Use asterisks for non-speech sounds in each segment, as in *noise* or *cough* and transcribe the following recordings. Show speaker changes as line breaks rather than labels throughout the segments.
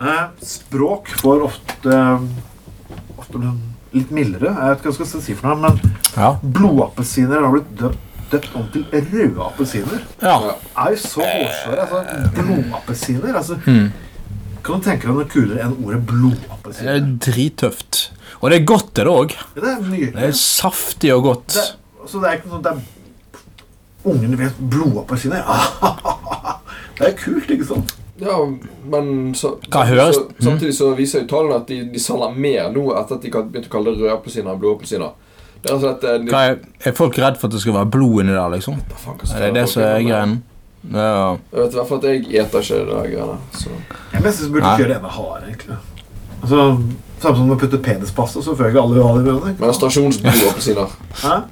Eh, språk får ofte, ofte noen litt mildere Jeg vet ikke hva jeg skal si for noe, men
Ja.
blodapelsiner har blitt døpt, døpt om til røde apelsiner.
ja.
er jo så hårsåre. Altså, blodapelsiner altså,
Hmm.
Kan du tenke deg noe kulere enn ordet
Det er
blodapelsiner?
drittøft. Og det er godt, det òg.
Ja, Det er
Eh, Det
nydelig.
er saftig og godt.
Det, så det er ikke noe det er, Ungene vet blodapelsiner. *laughs* Det er kult, ikke sant?
Ja, men så,
Hva høres- Mm.
så, samtidig så viser jo tallene at de, de selger mer nå etter at de kan- begynte å kalle det rødappelsiner enn blodappelsiner. Det er rett og slett eh, de,
Hva er, er folk redd for at det skal være blod inni der, liksom?
Hva faen, hva
Er det det som er greien? Ja.
Jeg vet i hvert fall at jeg eter ikke det der greiene. Så.
Jeg mener, jeg synes vi burde
Nei.
kjøre enda hardere, egentlig. Altså, Samme som å putte penispasta, så føler ikke alle hva de mener. ikke sant?
Menstruasjonsblodappelsiner.
Hæ?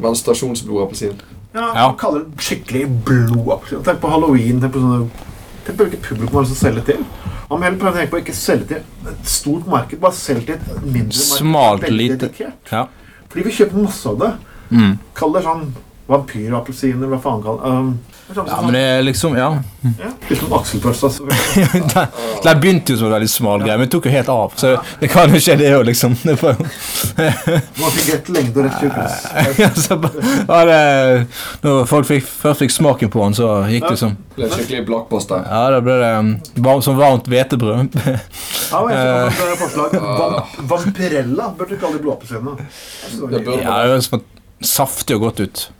Menstruasjonsblodappelsin.
Ja,
Ja.
man kaller det skikkelig blodapelsin. Tenk på halloween. Tenk på sånne Tenk på hvilket publikum man skal selge til. Man må heller prøve å tenke på ikke selge til et stort marked, bare selge til et mindre marked.
Smalt
Veldig
lite.
dedikert.
ja.
Fordi vi kjøper masse av det.
Mm.
Kall det sånn vampyrappelsiner, hva faen kall um, det. er
ja,
sånn-
men det er liksom Ja.
ja, Utenom akselpølsa. selvfølgelig.
Den den begynte jo som en veldig smal greie, men tok jo helt av. Så det kan jo skje, det òg, liksom. Det får jo- *laughs*
Man fikk rett lengde og rett tjukkelse.
Ja, så ba- var altså, det, når folk fikk, først fikk smaken på den, så gikk det som
Ble skikkelig blakkpasta.
Ja, da ble det um, varm, som varmt hvetebrød. *laughs*
Ja, men jeg fikk et forslag. Vamp Vampirella burde du kalle de blåapelsinene. Jeg synes det var
Det
nydelig.
burde
Ja, det høres for- saftig og godt ut.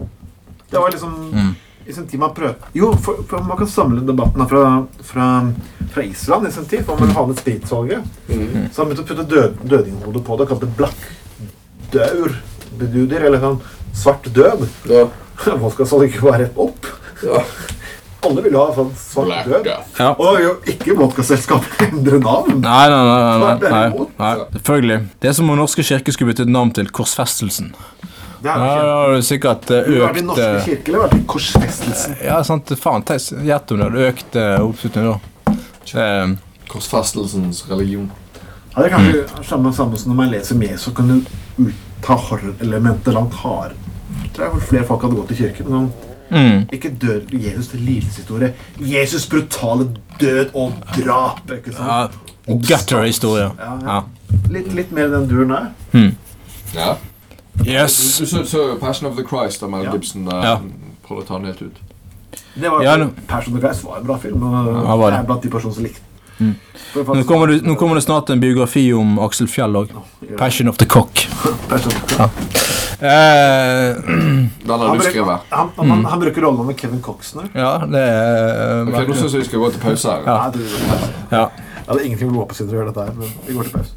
Det var liksom I sin tid man prøvde Jo, for, for man kan samle debatten her fra, fra, fra Island i sin tid. For man ville ha ned spritsalget.
Mhm.
Så han begynte å putte død, dødninghodet på det og kalte det blakkdaur. Beduder, eller sånn svart død. *laughs*
Ja.
Vodka skal ikke være rett opp.
Ja.
Alle ville ha sånn svart
Black
død.
Death.
Ja.
Og jo, ikke vodkaselskapet endre navn.
Nei, nei, nei, nei,
Svært
nei, nei,
derimot.
nei. Selvfølgelig. Det er som om Norske kirke skulle byttet navn til Korsfestelsen.
Det er
Ja,
jo
da
ikke
har du sikkert eh,
Du har vært i
økt
norske
eh,
kirke, eller vært i korsfestelsen?
Ja, sant, faen, tenk, gjett om det hadde økt eh, oppslutningen da. Eh,
Korsfestelsens religion.
Ja, det er
Mm.
kanskje samme, samme som når man leser mer, så kan du ta horror-elementer langt hardere. Jeg tror jeg flere folk hadde gått i kirken. Sånn.
Mm.
Ikke dør Jesus til lidelseshistorie. Jesus' brutale død og drap. ikke
Ja,
sant?
Gutter-historie.
Ja, ja.
Ja.
Litt, litt mer den duren der.
Ja.
Yes.
Du, du så- så jo Passion of the Christ da Mel
Ja.
Gibson eh,
Ja.
prøvde å ta den helt ut.
Det var
Ja, nå-
Passion of the Christ var en bra film. Og
Ja, var det.
jeg er blant de personene som likte
Mm. Nå kommer, det, nå kommer det snart en biografi om Aksel Fjell òg.
Passion.
'Passion of the Cock'.
Passion.
Eh,
Den har
sånn- Han,
du
bruk,
skrevet.
han, han, han
Mm.
bruker rollen med Kevin Coxner.
ja, det er
Ok, Nå syns jeg vi skal gå til pause her.
Ja.
Nei, det,
Ja.
jeg hadde ingenting med blodapelsiner å gjøre, dette her, men vi går til pause.